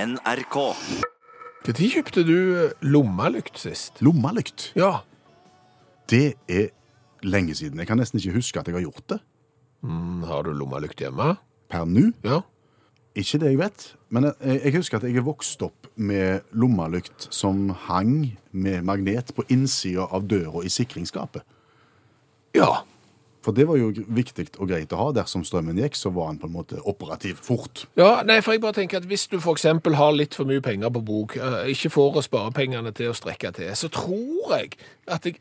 NRK. Når kjøpte du eh, lommelykt sist? Lommelykt. Ja. Det er lenge siden. Jeg kan nesten ikke huske at jeg har gjort det. Mm, Har du lommelykt hjemme? Per nå. Ja. Ikke det jeg vet. Men jeg, jeg husker at jeg er vokst opp med lommelykt som hang med magnet på innsida av døra i sikringsskapet. Ja. For det var jo gr- viktig og greit å ha. Dersom strømmen gikk, så var han på en måte operativ fort. ja. Nei, for jeg bare tenker at hvis du for eksempel har litt for mye penger på bok, eh, ikke får å spare pengene til å strekke til, så tror jeg at jeg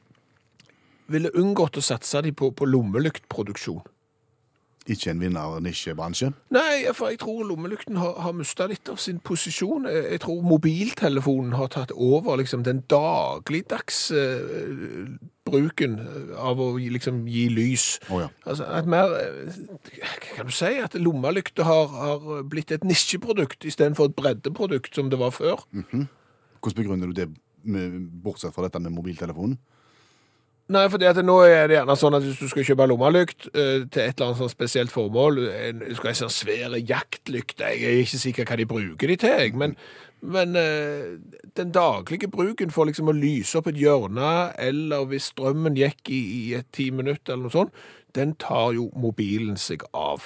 ville unngått å satse de på, på lommelyktproduksjon. Ikke en vinnernisjebransje. Nei, for jeg tror lommelykten har, har mista litt av sin posisjon. Jeg, jeg tror mobiltelefonen har tatt over liksom, den dagligdags eh, bruken av å gi- liksom, gi lys. Å ja. Altså, at mer, eh, hva kan du si, at lommelykter har, har blitt et nisjeprodukt istedenfor et breddeprodukt som det var før. Hvordan begrunner du det, med, bortsett fra dette med mobiltelefonen? Nei, fordi at nå er det gjerne sånn at hvis du skal kjøpe lommelykt eh, til et eller annet sånn spesielt formål, en, du skal ha en sånn svære jaktlykt, jeg er ikke sikker hva de bruker de til, jeg, men, men eh, den daglige bruken for liksom å lyse opp et hjørne, eller hvis strømmen gikk i, i et ti minutter eller noe sånt, den tar jo mobilen seg av.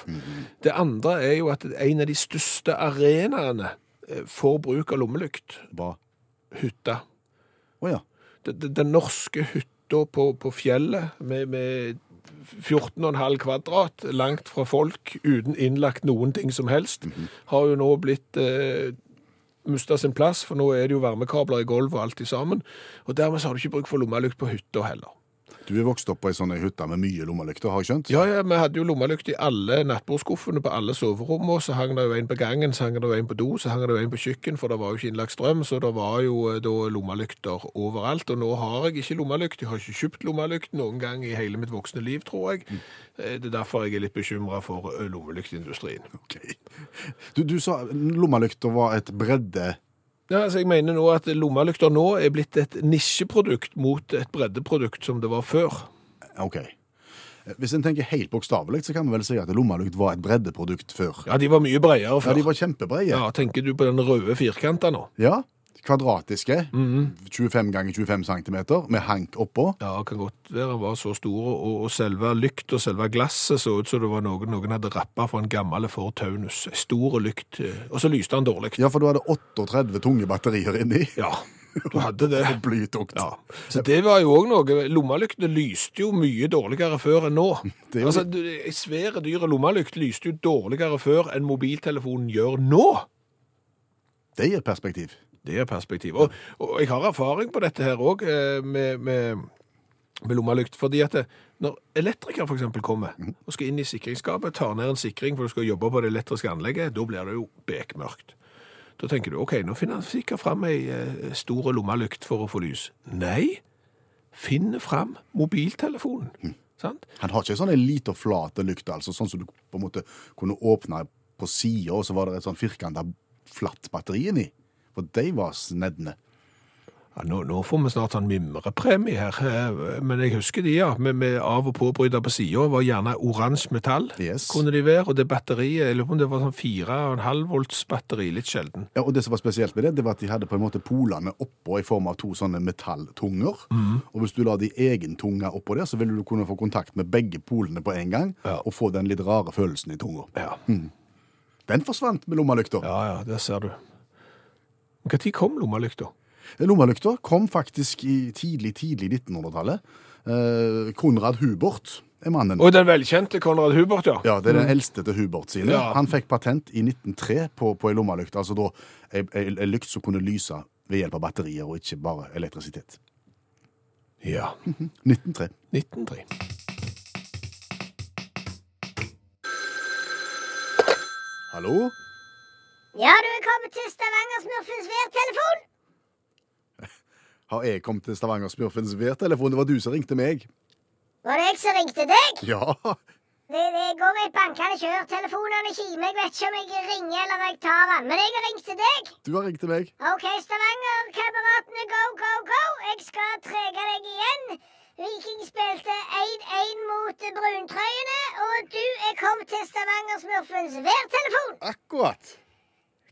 Det andre er jo at en av de største arenaene eh, for bruk av lommelykt, Hva? hytta, Å ja. den- den, den norske hytta på, på fjellet med, med 14,5 kvadrat, langt fra folk, uten innlagt noen ting som helst, har jo nå blitt eh, mista sin plass, for nå er det jo varmekabler i gulvet og alt i sammen. Og dermed så har du ikke bruk for lommelykt på hytta heller. Du er vokst opp på ei sånn hytte med mye lommelykter, har jeg skjønt? Ja, ja, vi hadde jo lommelykt i alle nattbordskuffene på alle soverommene, og så hang det jo en på gangen, så hang det jo en på do, så hang det jo en på kjøkken, for det var jo ikke innlagt strøm, så det var jo eh, da lommelykter overalt, og nå har jeg ikke lommelykt, jeg har ikke kjøpt lommelykt noen gang i hele mitt voksne liv, tror jeg. Eh, Det er derfor jeg er litt bekymret for eh, lommelyktindustrien. Ok. Du, du sa lommelykter var et bredde... Ja, altså jeg mener nå at lommelykter nå er blitt et nisjeprodukt mot et breddeprodukt som det var før. Ok. Hvis en tenker helt bokstavelig, så kan vi vel si at lommelykt var et breddeprodukt før. Ja, de var mye bredere Ja, før. de var kjempebreie. Ja, tenker du på den røde firkanten nå? Ja, kvadratiske. Mhm. 25 ganger 25 centimeter, med hank oppå. Ja, det kan godt være han var så store, og, og selve lykt og selve glasset så ut som det var noe noen hadde rappa fra en gammel Ford Taunus. En stor lykt, eh, og så lyste han dårlig. Ja, for du hadde 38 tunge batterier inni. Ja, du hadde det. Blytungt. Ja. Så det var jo òg noe. Lommelyktene lyste jo mye dårligere før enn nå. Det er jo- Altså, du- Ei svære, dyr lommelykt lyste jo dårligere før enn mobiltelefonen gjør nå. Det gir perspektiv. Det er perspektiv. Og, og jeg har erfaring på dette her òg, med, med, med lommelykt. Fordi at det, når elektriker f.eks. kommer og skal inn i sikringsskapet, tar ned en sikring for du skal jobbe på det elektriske anlegget, da blir det jo bekmørkt. Da tenker du OK, nå finner han sikkert fram ei eh, stor lommelykt for å få lys. Nei, finn fram mobiltelefonen. Sant? Han har ikke sånn en liter flate lykt, altså, sånn som du på en måte kunne åpne på sida, og så var det et sånn firkanta flatt batteri inni. For de var sneddende. Ja, nå, nå får vi snart sånn mimrepremie her, eh, men jeg husker de, ja. Med, med av- og påbryter på sida var gjerne oransje metall. Yes. Kunne de være, og det batteriet, jeg lurer på om det var sånn 4,5 volts batteri, litt sjelden. Ja, og det som var spesielt med det, det var at de hadde på en måte polene oppå i form av to sånne metalltunger. Mhm. Og hvis du la de egen tunga oppå der, så ville du kunne få kontakt med begge polene på en gang, Ja. og få den litt rare følelsen i tunga. Ja, Den forsvant med lommelykta. Mm. ja, ja der ser du. Men Når kom lommelykta? Lommelykta Eh, kom faktisk i tidlig, tidlig 1900-tallet. Eh, Konrad Hubert er mannen. Og den velkjente Konrad Hubert, ja. Ja, det er den eldste til Hubert sine. Mm. Ja. Han fikk patent i 1903 på, på ei lommelykt. Altså da ei, ei, ei lykt som kunne lyse ved hjelp av batterier, og ikke bare elektrisitet. Ja, 1903. 1903. Hallo? Ja, du er kommet til Stavanger-smurfens værtelefon. Har jeg kommet til Stavanger-smurfens vedtelefon? Det var du som ringte meg. Var det jeg som ringte deg? Ja, Det, det går med et bankende kjør. Telefonene kimer. Jeg vet ikke om jeg ringer eller jeg tar den. Men jeg ringte deg. du har ringt til meg. OK, Stavanger-kameratene, go, go, go. Jeg skal trege deg igjen. Viking spilte 1-1 mot bruntrøyene, og du er kommet til Stavanger-smurfens værtelefon. Akkurat.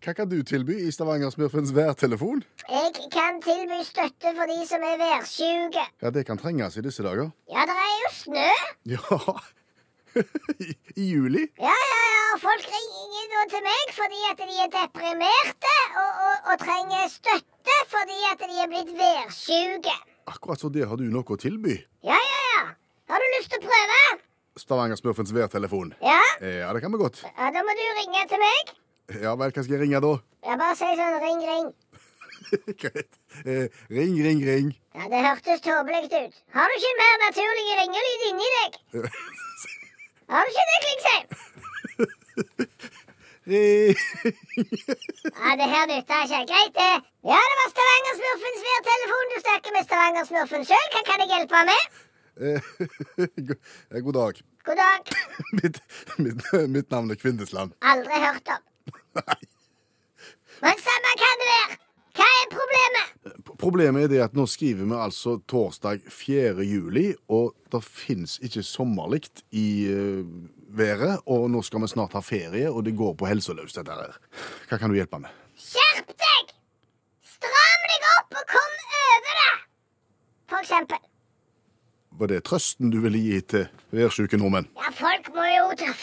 Hva kan du tilby i Stavanger-smurfens værtelefon? Jeg kan tilby støtte for de som er værsjuke. Ja, det kan trenges i disse dager. Ja, det er jo snø. Ja. I, I juli? Ja, ja, ja. og Folk ringer da til meg fordi at de er deprimerte og, og, og trenger støtte fordi at de er blitt værsjuke. Akkurat så det har du noe å tilby. Ja, ja, ja. Har du lyst til å prøve? Stavanger-smurfens værtelefon. Ja? Eh, Ja, det kan vi godt. ja? Da må du ringe til meg. Ja vel, hva skal jeg ringe da? Ja, Bare si sånn ring, ring. Greit. Eh, ring, ring, ring. Ja, Det hørtes tåpelig ut. Har du ikke en mer naturlig ringelyd inni deg? Har du ikke det, Klingsheim? Ring. Ja, det her nytter ikke. Greit, det. Ja, det var Stavanger-smurfens værtelefon. Du snakker med Stavanger-smurfen sjøl. Hva kan jeg hjelpe med? Eh, go- eh, God dag. God dag. Mitt, mitt, mitt navn er Kvindesland. Aldri hørt om. Nei. Men samme kan det være. Hva er problemet? P- Problemet er det at nå skriver vi altså torsdag 4. juli, og det fins ikke sommerlikt i eh, været, og nå skal vi snart ha ferie, og det går på helsa løs, dette her. Hva kan du hjelpe med? Skjerp deg! Stram deg opp og kom over det! For eksempel. Var det trøsten du ville gi til værsjuke nordmenn? Ja, folk må jo ta-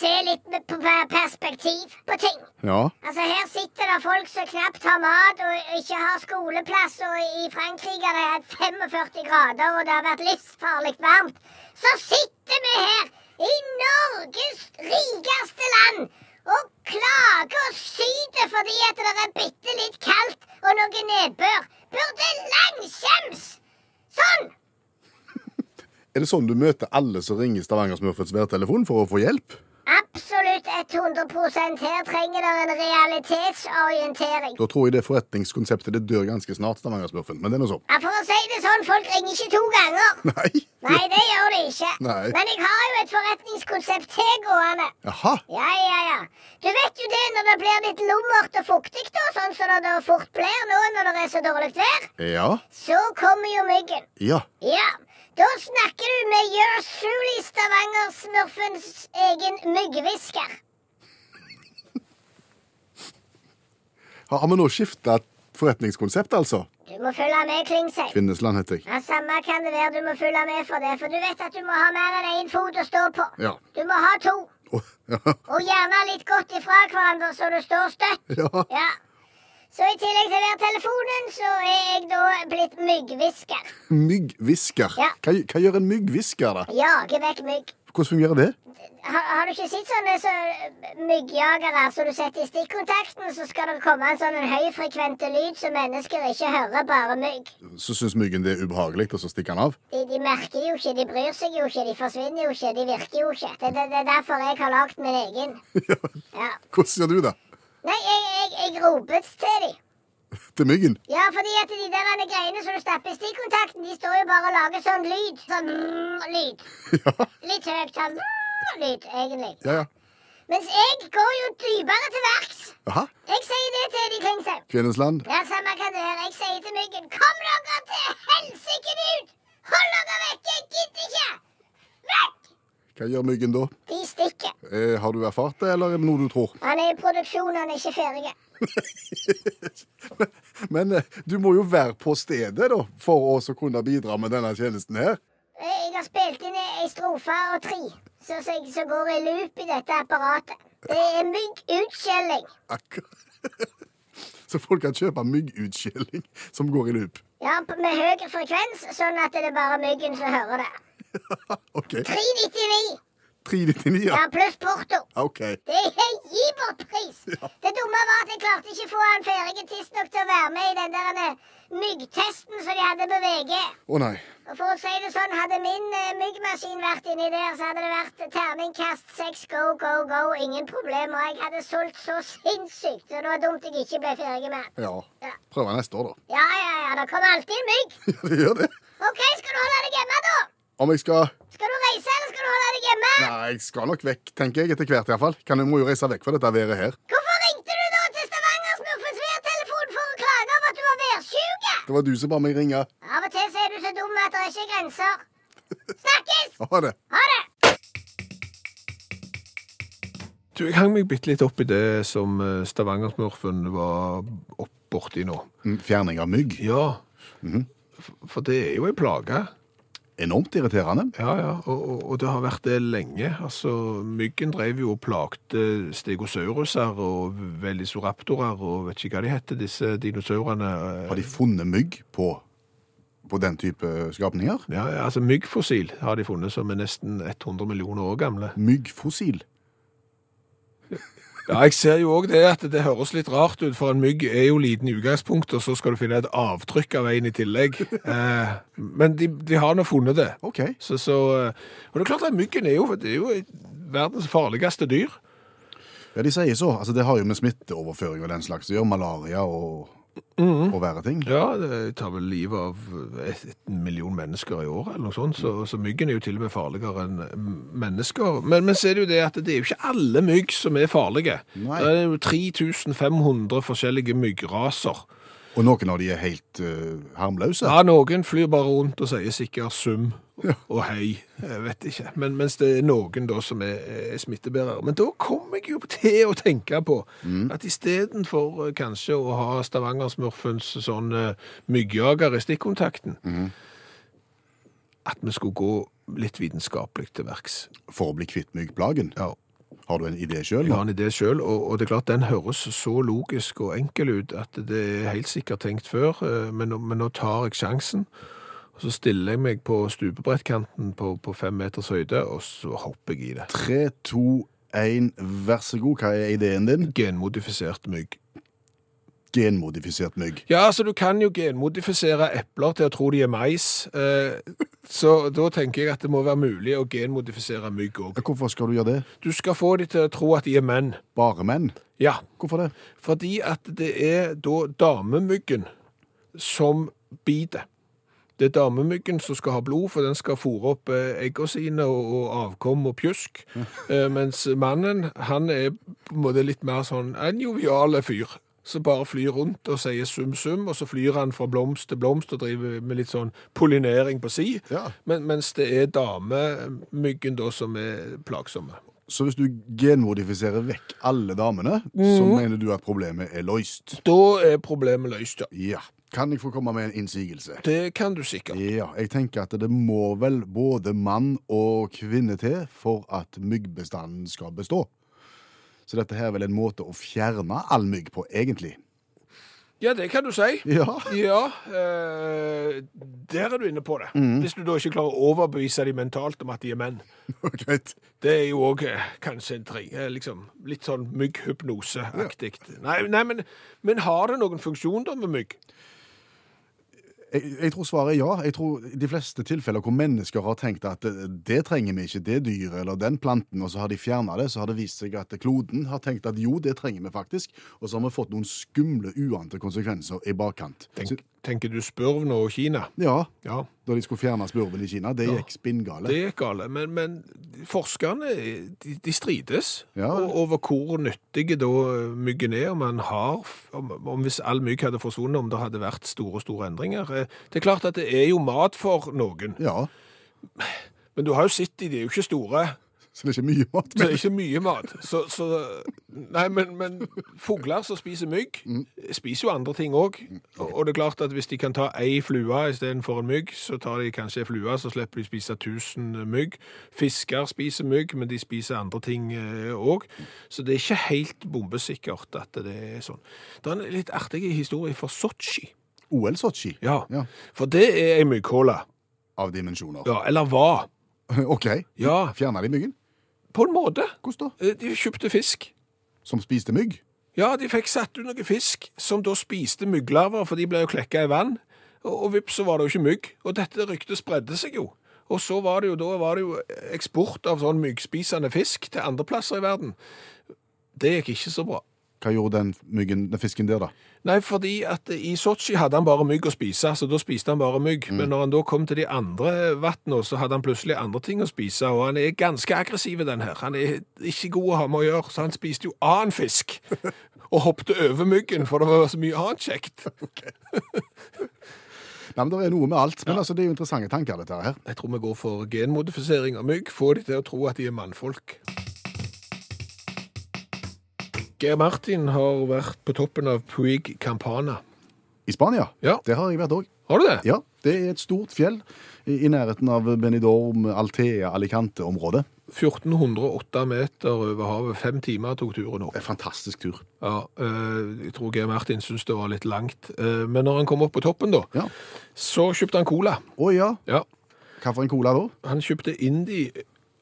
se litt med på per- perspektiv på ting. Ja. Altså, her sitter det folk som knapt har mat og ikke har skoleplass, og i Frankrike har det hatt 45 grader, og det har vært livsfarlig varmt. Så sitter vi her i Norges rikeste land og klager og syter fordi at det er bitte litt kaldt og noe nedbør. Burde langskjems! Sånn! Er det sånn du møter alle som ringer Stavanger-smurfets værtelefon for å få hjelp? Absolutt 100 Her trenger det en realitetsorientering. Da tror jeg det forretningskonseptet det dør ganske snart, Stavanger-smurfen. Men det er nå så. Ja, For å si det sånn, folk ringer ikke to ganger. Nei? Nei, det gjør de ikke. Nei. Men jeg har jo et forretningskonsept til gående. Jaha. Ja, ja, ja. Du vet jo det når det blir litt lummert og fuktig, da, sånn som det da fort blir nå når det er så dårlig vær. Ja. Så kommer jo myggen. Ja. Ja. Da snakker du med yours truly Stavanger-smurfens egen myggvisker. Har, har vi nå skifta forretningskonsept, altså? Du må følge med, Klingsheim. Kvinnesland heter jeg. Ja, Samme kan det være du må følge med for det, for du vet at du må ha mer enn én fot å stå på. Ja. Du må ha to, Å, ja. og gjerne litt godt ifra hverandre så du står støtt. Ja. Ja. Så i tillegg til hver telefonen, så er jeg da blitt myggvisker. Myggvisker. Ja. Hva, hva gjør en myggvisker, da? Jager vekk mygg. Hvordan fungerer det? Har, har du ikke sett sånne så, myggjagere som du setter i stikkontakten, så skal det komme en sånn en høyfrekvente lyd som mennesker ikke hører, bare mygg. Så syns myggen det er ubehagelig, og så stikker han av? De, de merker det jo ikke, de bryr seg jo ikke, de forsvinner jo ikke, de virker jo ikke. Det, det, det er derfor jeg har lagd min egen. Ja. Hvordan gjør du det? Nei, jeg, jeg, jeg ropet til dem. Til myggen? Ja, fordi at de der andre greiene som du stapper i stikkontakten, de står jo bare og lager sånn lyd. Sånn brrr, lyd. Ja. Litt høyt sånn brrr, lyd, egentlig. ja, ja. Mens jeg går jo dypere til verks. Jaha. Jeg sier det til de Klingsheim. Kvinnens land. Ja, samme kan det være. Jeg sier til myggen Kom dere til helsike ut! Hold dere vekk! Jeg gidder ikke! Vekk! Hva gjør myggen da? De stikker. Eh, har du erfart det, eller er det noe du tror? Han er i produksjon, han er ikke ferdig. Men eh, du må jo være på stedet, da, for å så kunne bidra med denne tjenesten her. Jeg har spilt inn ei strofe og tre, så, så, jeg- så går jeg loop i dette apparatet. Det er myggutskjelling. Akkur så folk kan kjøpe myggutskjelling som går i loop. Ja, p- med høy frekvens, sånn at det er bare myggen som hører det. OK. 399, 399, ja. ja, pluss porto. OK. Det er gi bort pris! Det dumme var at jeg klarte ikke å få han ferdig tidsnok til å være med i den der eh, myggtesten som de hadde på VG. Å nei. Og for å si det sånn, hadde min eh, myggmaskin vært inni der, så hadde det vært terningkast seks, go, go, go, ingen problem. Og jeg hadde solgt så sinnssykt, så det var dumt jeg ikke ble ferdig med den. Ja. Prøve neste år, da. Ja, ja, ja, det kommer alltid en mygg. Ja, det gjør det. OK, skal du holde deg hjemme, da? Om jeg skal Skal du reise, eller skal du holde deg hjemme? Nei, jeg skal nok vekk, tenker jeg, etter hvert iallfall. Kan jeg må jo reise vekk fra dette været her. Hvorfor ringte du da til Stavanger-smurfens værtelefon for å klage over at du var værsjuke? Det var du som ba meg ringe. Av og til så er du så dum at det er ikke grenser. Snakkes! Ha det. Ha det! Du, jeg hang meg bitte litt opp i det som eh, Stavanger-smurfen var opp borti nå. Mm, Fjerning av mygg. Ja, Mhm. F- for det er jo en plage. Enormt irriterende. Ja, ja, og, og, og det har vært det lenge. Altså, myggen drev jo og plagte stegosauruser og velisoraptorer og vet ikke hva de heter, disse dinosaurene. Har de funnet mygg på, på den type skapninger? Ja, ja, altså myggfossil har de funnet som er nesten 100 millioner år gamle. Myggfossil. Ja, jeg ser jo òg det at det høres litt rart ut, for en mygg er jo liten i utgangspunktet, og så skal du finne et avtrykk av en i tillegg. Eh, men de, de har nå funnet det. OK. Så, så, eh, og det er klart at myggen er jo, det er jo verdens farligste dyr. Ja, de sier så. Altså, det har jo med smitteoverføring og den slags å gjøre. Malaria og, Mm. og verre ting. Ja, det tar vel livet av et et million mennesker i året, eller noe sånt, så, så myggen er jo til og med farligere enn eh, mennesker. Men, men så er det jo det at det er jo ikke alle mygg som er farlige. Nei. Det er jo 3500 forskjellige myggraser. Og noen av de er helt eh, harmløse. Ja, noen flyr bare rundt og sier sikkert sum og hei, jeg vet ikke. Men, mens det er noen da som er, er smittebærere. Men da kom jeg jo til å tenke på at istedenfor eh, kanskje å ha Stavanger-smurfens sånn eh, myggjager i stikkontakten, at vi skulle gå litt vitenskapelig til verks. For å bli kvitt myggplagen. Ja. Har du en idé sjøl? Jeg har en idé sjøl, og, og det er klart den høres så logisk og enkel ut at det er helt sikkert tenkt før, eh, men, nå- men nå tar jeg sjansen. Og så stiller jeg meg på stupebrettkanten på, på fem meters høyde, og så hopper jeg i det. Tre, to, én, vær så god. Hva er ideen din? Genmodifisert mygg. Genmodifisert mygg. Ja, altså du kan jo genmodifisere epler til å tro de er mais, eh, så da tenker jeg at det må være mulig å genmodifisere mygg òg. Hvorfor skal du gjøre det? Du skal få de til å tro at de er menn. Bare menn? Ja. Hvorfor det? Fordi at det er da damemyggen som biter. Det er damemyggen som skal ha blod, for den skal fôre opp eh, eggene sine og, og avkom og pjusk. Eh, mens mannen, han er på en måte litt mer sånn en joviale fyr. Som bare flyr rundt og sier sum, sum, og så flyr han fra blomst til blomst og driver med litt sånn pollinering på si. Ja. Men, mens det er damemyggen da som er plagsomme. Så hvis du genmodifiserer vekk alle damene, så mener du at problemet er løst? Da er problemet løst, ja. Ja. Kan jeg få komme med en innsigelse? Det kan du sikkert. Ja, jeg tenker at det må vel både mann og kvinne til for at myggbestanden skal bestå. Så dette her er vel en måte å fjerne all mygg på, egentlig. Ja, det kan du si. Ja. Ja, eh, der er du inne på det. Hvis du da ikke klarer å overbevise de mentalt om at de er menn. Greit. Det er jo òg kanskje en tri, eh, liksom, litt sånn mygghypnoseaktig. Nei, nei men, men har det noen funksjon da med mygg? Jeg, jeg tror svaret er ja. Jeg tror i de fleste tilfeller hvor mennesker har tenkt at eh, det trenger vi ikke, det dyret eller den planten, og så har de fjerna det, så har det vist seg at kloden har tenkt at jo, det trenger vi faktisk, og så har vi fått noen skumle, uante konsekvenser i bakkant. Så, Tenk, tenker du spurv nå og Kina? ja, Ja, da de skulle fjerne spurven i Kina, det gikk det spinngale. er gale. Men, men forskerne de, de strides Ja. o- over hvor nyttige da myggen er, om han har f- om, om hvis all mygg hadde forsvunnet, om det hadde vært store, store endringer. Eh, Det er klart at det er jo mat for noen. Ja, Men du har jo sett de, de er jo ikke store. så det er ikke mye mat. Det er ikke mye mat. Så, så Nei, men, men fugler som spiser mygg, spiser jo andre ting òg. Og og det er klart at hvis de kan ta ei flue istedenfor en mygg, så tar de kanskje ei flue, så slipper de spise 1000 mygg. Fisker spiser mygg, men de spiser andre ting òg. Så det er ikke helt bombesikkert at det er sånn. Det er en litt artig historie fra Sotsji. OL Sotsji Ja. Ja. For det er ei mygghåle. av dimensjoner. Ja, eller var. OK. Ja, Fjerna de myggen? på en måte. Hvordan da? Eh, De kjøpte fisk. Som spiste mygg? Ja, de fikk satt ut noen fisk som da spiste mygglarver, for de ble jo klekka i vann. Og, og vips, så var det jo ikke mygg. Og dette ryktet spredde seg jo. Og så var det jo da var det jo eksport av sånn myggspisende fisk til andre plasser i verden. Det gikk ikke så bra. Hva gjorde den, myggen, den fisken der, da? Nei, fordi at i Sotsji hadde han bare mygg å spise, så da spiste han bare mygg. Men når han da kom til de andre vattnene, så hadde han plutselig andre ting å spise, og han er ganske aggressiv, den her. Han er ikke god å ha med å gjøre, så han spiste jo annen fisk. Og hoppte over myggen, for det var så mye annet kjekt. Nei, men Det er noe med alt. Men altså, det er jo interessante tanker, dette her. Jeg tror vi går for genmodifisering av mygg. Få de til å tro at de er mannfolk. Geir Martin har vært på toppen av Puig Campana. I Spania? Ja. Det har jeg vært òg. Har du det? Ja, det er et stort fjell i i nærheten av Benidorm, Altea, Alicante-området. 1408 meter over havet. Fem timer tok turen opp. En fantastisk tur. Ja, eh, jeg tror Geir Martin syntes det var litt langt. Eh, men når han kom opp på toppen, da, Ja. så kjøpte han cola. Å ja, Ja, hva for en cola da? Han kjøpte Indie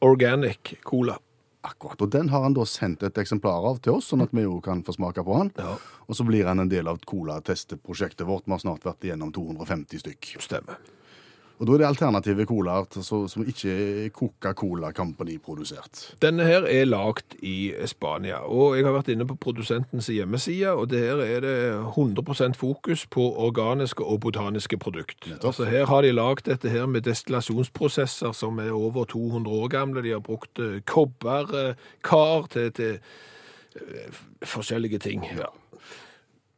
Organic Cola. Akkurat, og den har han da sendt et eksemplar av til oss, sånn at vi jo kan få smake på han. Ja. Og så blir han en del av cola-testeprosjektet vårt. Vi har snart vært igjennom 250 stykk. Stemmer. Og da er det alternative colaer til- så- som ikke er Coca-Cola Company-produsert. Denne her er lagd i Spania, og jeg har vært inne på produsentens hjemmeside, og der er det 100 fokus på organiske og botaniske produkt. Nettopp. Altså her har de lagd dette her med destillasjonsprosesser som er over 200 år gamle. De har brukt eh, kobber, eh, kar til, til eh, f- forskjellige ting.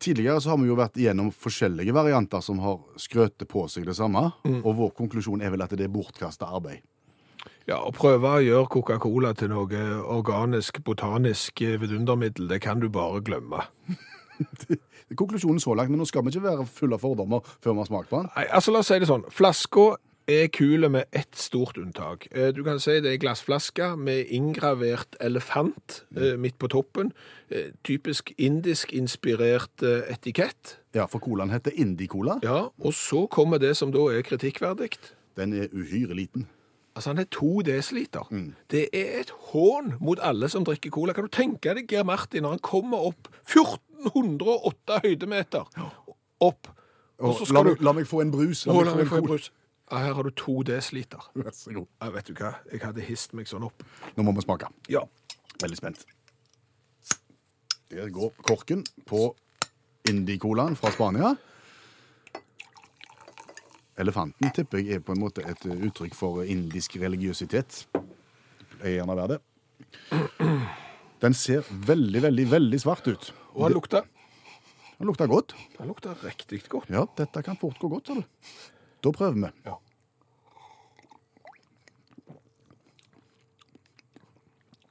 Tidligere så har vi jo vært igjennom forskjellige varianter som har skrøtet på seg det samme, og vår konklusjon er vel at det er bortkasta arbeid. Ja, Å prøve å gjøre Coca-Cola til noe organisk, botanisk eh, vidundermiddel, det kan du bare glemme. Konklusjonen så langt, men nå skal vi ikke være fulle av fordommer før vi har smakt på den. Nei, altså la oss si det sånn. Flaska er kule med ett stort unntak. Eh, Du kan si det er glassflaske med inngravert elefant eh, midt på toppen. Eh, Typisk indisk-inspirert eh, etikett. Ja, for colaen heter Indie-cola. Ja, og så kommer det som da er kritikkverdig. Den er uhyre liten. Altså, han er to desiliter. Det er et hån mot alle som drikker cola. Kan du tenke deg Geir Martin når han kommer opp 1408 høydemeter opp, og så la, skal meg- du la meg få en brus. Å, la meg få en cola. brus. Ja, her har du to desiliter. Vær så god. Ja, vet du hva? Jeg hadde hist meg sånn opp. Nå må vi smake. Ja. Veldig spent. Der går korken på Indie-colaen fra Spania. Elefanten tipper jeg er på en måte et eh, uttrykk for indisk religiøsitet. Det pleier gjerne å være det. Den ser veldig, veldig, veldig svart ut. Og han lukta Den lukter godt. Han lukta riktig godt. Ja, dette kan fort gå godt, sa du. Da prøver vi. Ja.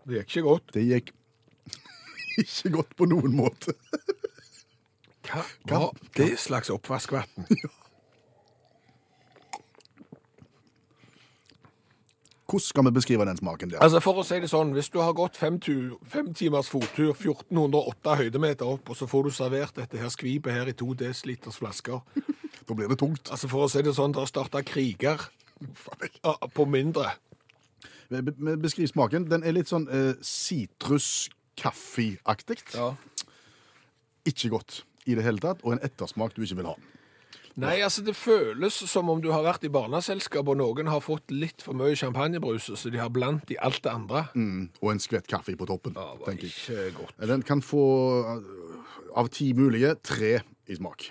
Det gikk ikke godt. Det gikk ikke godt på noen måte. Hva var det slags oppvaskvann? Hvordan skal vi beskrive den smaken der? Altså, for å si det sånn, hvis du har gått fem, tu, fem timers fottur, 1408 høydemeter opp, og så får du servert dette her skvipet her i to desiliters flasker Da blir det tungt. Altså, for å si det sånn, det har starta kriger Ja, på mindre. Be- be- Beskriv smaken. Den er litt sånn eh, sitrus-kaffeaktig. Ikke godt i det hele tatt, og en ettersmak du ikke vil ha. Nei, altså, det føles som om du har vært i barneselskap, og noen har fått litt for mye champagnebrus, så de har blandt i alt det andre. Mm, Og en skvett kaffe på toppen, tenker jeg. ikke godt. Den kan få eh, av ti mulige tre i smak.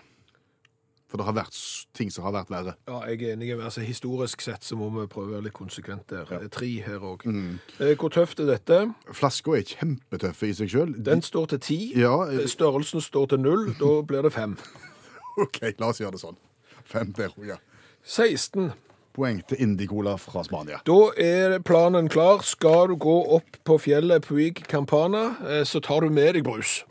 For det har vært s- ting som har vært verre. Ja, jeg er enig. med- Altså, historisk sett så må vi prøve å være litt konsekvent der. Det er Tre her òg. Eh, Hvor tøft er dette? Flaska er kjempetøffe i seg sjøl. Den står til ti. Ja, eh. Eh, Størrelsen står til null. Da blir det fem. OK, la oss gjøre det sånn. Fem der, ja. 16. Poeng til Indie-cola fra Spania. Da er planen klar. Skal du gå opp på fjellet Puig Campana, eh, så tar du med deg brus.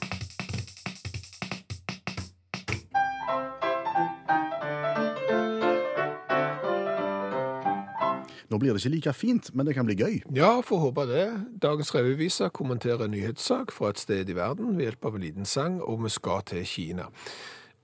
Nå blir det ikke like fint, men det kan bli gøy. Ja, får håpe det. Dagens revyvise kommenterer en nyhetssak fra et sted i verden ved hjelp av en liten sang, og vi skal til Kina.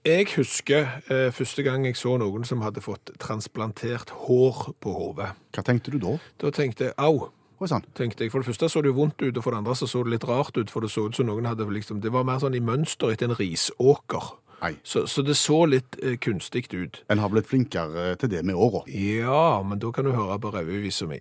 Jeg husker eh, første gang jeg så noen som hadde fått transplantert hår på hodet. Hva tenkte du da? Da tenkte jeg au. Oi sann. tenkte jeg. For det første så det jo vondt ut, og for det andre så, så det litt rart ut. For det så ut som noen hadde liksom Det var mer sånn i mønster etter en risåker. Nei. Så, så det så litt eh, kunstig ut. En har blitt flinkere til det med åra. Ja, men da kan du høre på revyvisa mi.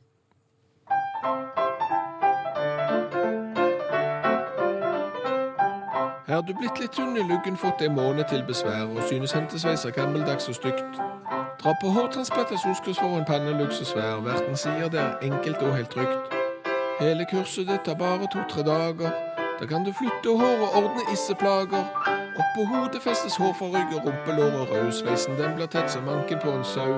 Er du blitt litt tynn i luggen, fått en måned til besvær, og synes hentesveiser gammeldags og stygt? Dra på hårtransplantasjonskurs for en pannelugg så svær, verten sier det er enkelt og helt trygt. Hele kurset ditt tar bare to-tre dager, da kan du flytte hår og ordne isseplager. Oppå hodet festes hår fra rygg og rumpelår og rød, sveisen den blir tett som manken på en sau.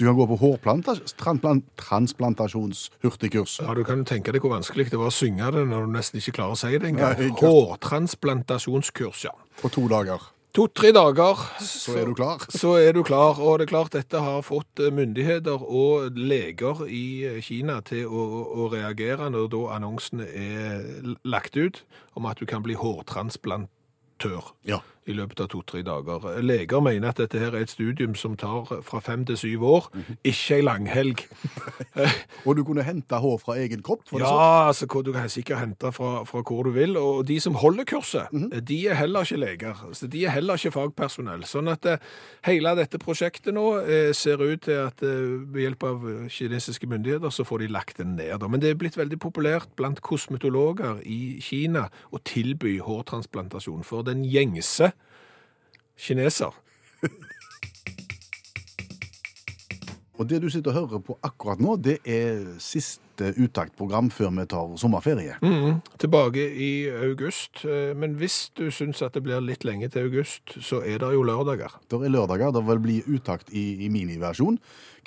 Du kan gå på hårtransplantasjonshurtigkurs. Ja, Du kan jo tenke deg hvor vanskelig det var å synge det når du nesten ikke klarer å si det Nei, engang. ikke sant. Hårtransplantasjonskurs, ja. På to dager. To-tre dager, Så er du klar. så er du klar. Og det er klart dette har fått eh, myndigheter og leger i eh, Kina til å, å- å reagere når da annonsene er l- lagt ut om at du kan bli hårtransplantør Ja. i løpet av to-tre dager. Leger mener at dette her er et studium som tar fra fem til syv år, Mhm. ikke ei langhelg. Og du kunne hente hår fra egen kropp. For det Ja, altså, hvor du kan sikkert hente fra, fra hvor du vil. Og de som holder kurset, eh, de er heller ikke leger. Så de er heller ikke fagpersonell. Sånn at eh, hele dette prosjektet nå eh, ser ut til at eh, ved hjelp av eh, kinesiske myndigheter så får de lagt det ned. da. Men det er blitt veldig populært blant kosmetologer i Kina å tilby hårtransplantasjon for den gjengse kineser. så- Og det du sitter og hører på akkurat nå, det er siste uttaktprogram før vi tar sommerferie. Tilbake i august. eh, Men hvis du syns at det blir litt lenge til august, så er det jo lørdager. Det er lørdager. Det vil bli uttakt i, i miniversjon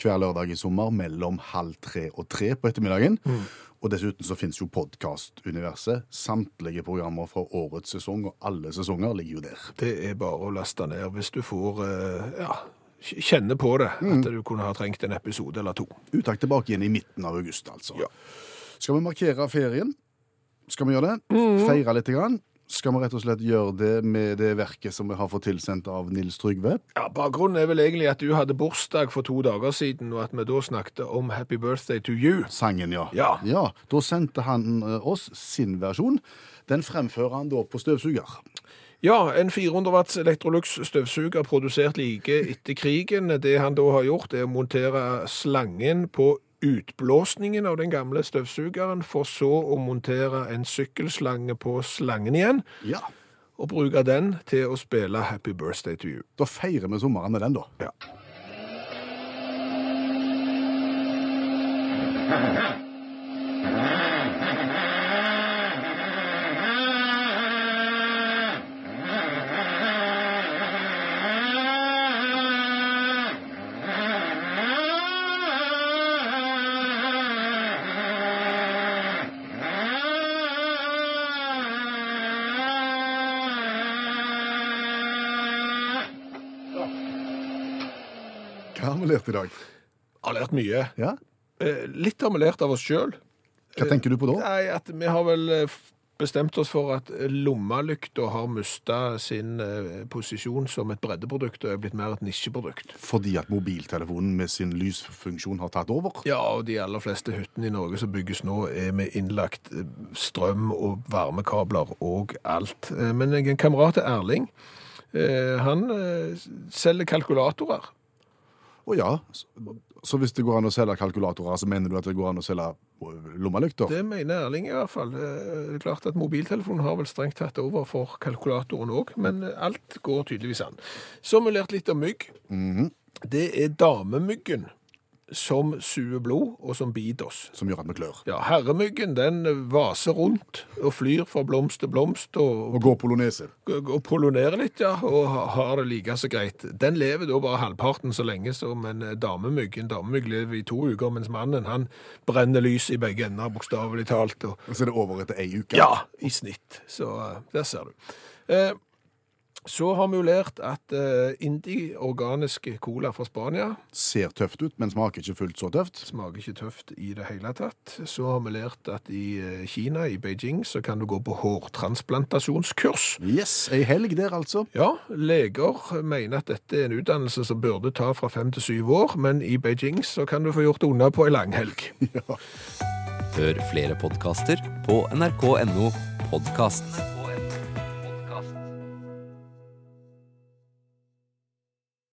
hver lørdag i sommer mellom halv tre og tre på ettermiddagen. Mm. Og dessuten så finnes jo podkastuniverset. Samtlige programmer fra årets sesong og alle sesonger ligger jo der. Det er bare å laste ned hvis du får eh, ja, kjenne på det, at du kunne ha trengt en episode eller to. Uttakt tilbake igjen i midten av august, altså. Ja. Skal vi markere ferien? Skal vi gjøre det? Feire litt? Grann? Skal vi rett og slett gjøre det med det verket som vi har fått tilsendt av Nils Trygve? Ja, Bakgrunnen er vel egentlig at du hadde bursdag for to dager siden, og at vi da snakket om 'Happy birthday to you'. Sangen, ja. Ja. Da sendte han eh, oss sin versjon. Den fremfører han da på støvsuger. Ja, en 400 watts Electrolux støvsuger produsert like etter krigen. Det han da har gjort, er å montere slangen på utblåsningen av den gamle støvsugeren, for så å montere en sykkelslange på slangen igjen, Ja. og bruke den til å spille 'Happy birthday to you'. Da feirer vi sommeren med den, da. Hva har vi lært i dag? har lært mye. Ja? Eh, Litt har vi lært av oss sjøl. Hva tenker du på da? Nei, at vi har vel eh, f- bestemt oss for at eh, lommelykta har mista sin eh, posisjon som et breddeprodukt og er blitt mer et nisjeprodukt. Fordi at mobiltelefonen med sin lysfunksjon har tatt over? Ja, og de aller fleste hyttene i Norge som bygges nå, er med innlagt eh, strøm og varmekabler og alt. Eh, Men jeg er en kamerat til Erling. eh, Han eh, s- selger kalkulatorer. Å ja. Så- Så hvis det går an å selge kalkulatorer, så mener du at det går an å selge eh, lommelykter? Det mener Erling i hvert fall. Eh, Det er klart at Mobiltelefonen har vel strengt tatt over for kalkulatoren òg, men alt går tydeligvis an. Så har vi lært litt om mygg. Det er damemyggen som suger blod, og som biter oss. Som gjør at vi klør. Ja, Herremyggen den vaser rundt og flyr fra blomst til blomst og, Og går polonese. og, og pollinerer litt, ja, og ha- har det like så greit. Den lever da bare halvparten så lenge som en eh, damemygg. En damemygg lever i to uker, mens mannen han brenner lys i begge ender, bokstavelig talt. og Og så er det over etter ei uke. ja, i snitt. Så eh, der ser du. Eh, så har vi jo lært at eh, indi-organisk cola fra Spania Ser tøft ut, men smaker ikke fullt så tøft. smaker ikke tøft i det hele tatt. Så har vi lært at i eh, Kina, i Beijing, så kan du gå på hårtransplantasjonskurs. Yes, ei helg der, altså. Ja, leger mener at dette er en utdannelse som burde ta fra fem til syv år, men i Beijing så kan du få gjort det unna på ei langhelg. Hør flere podkaster på nrk.no podkast.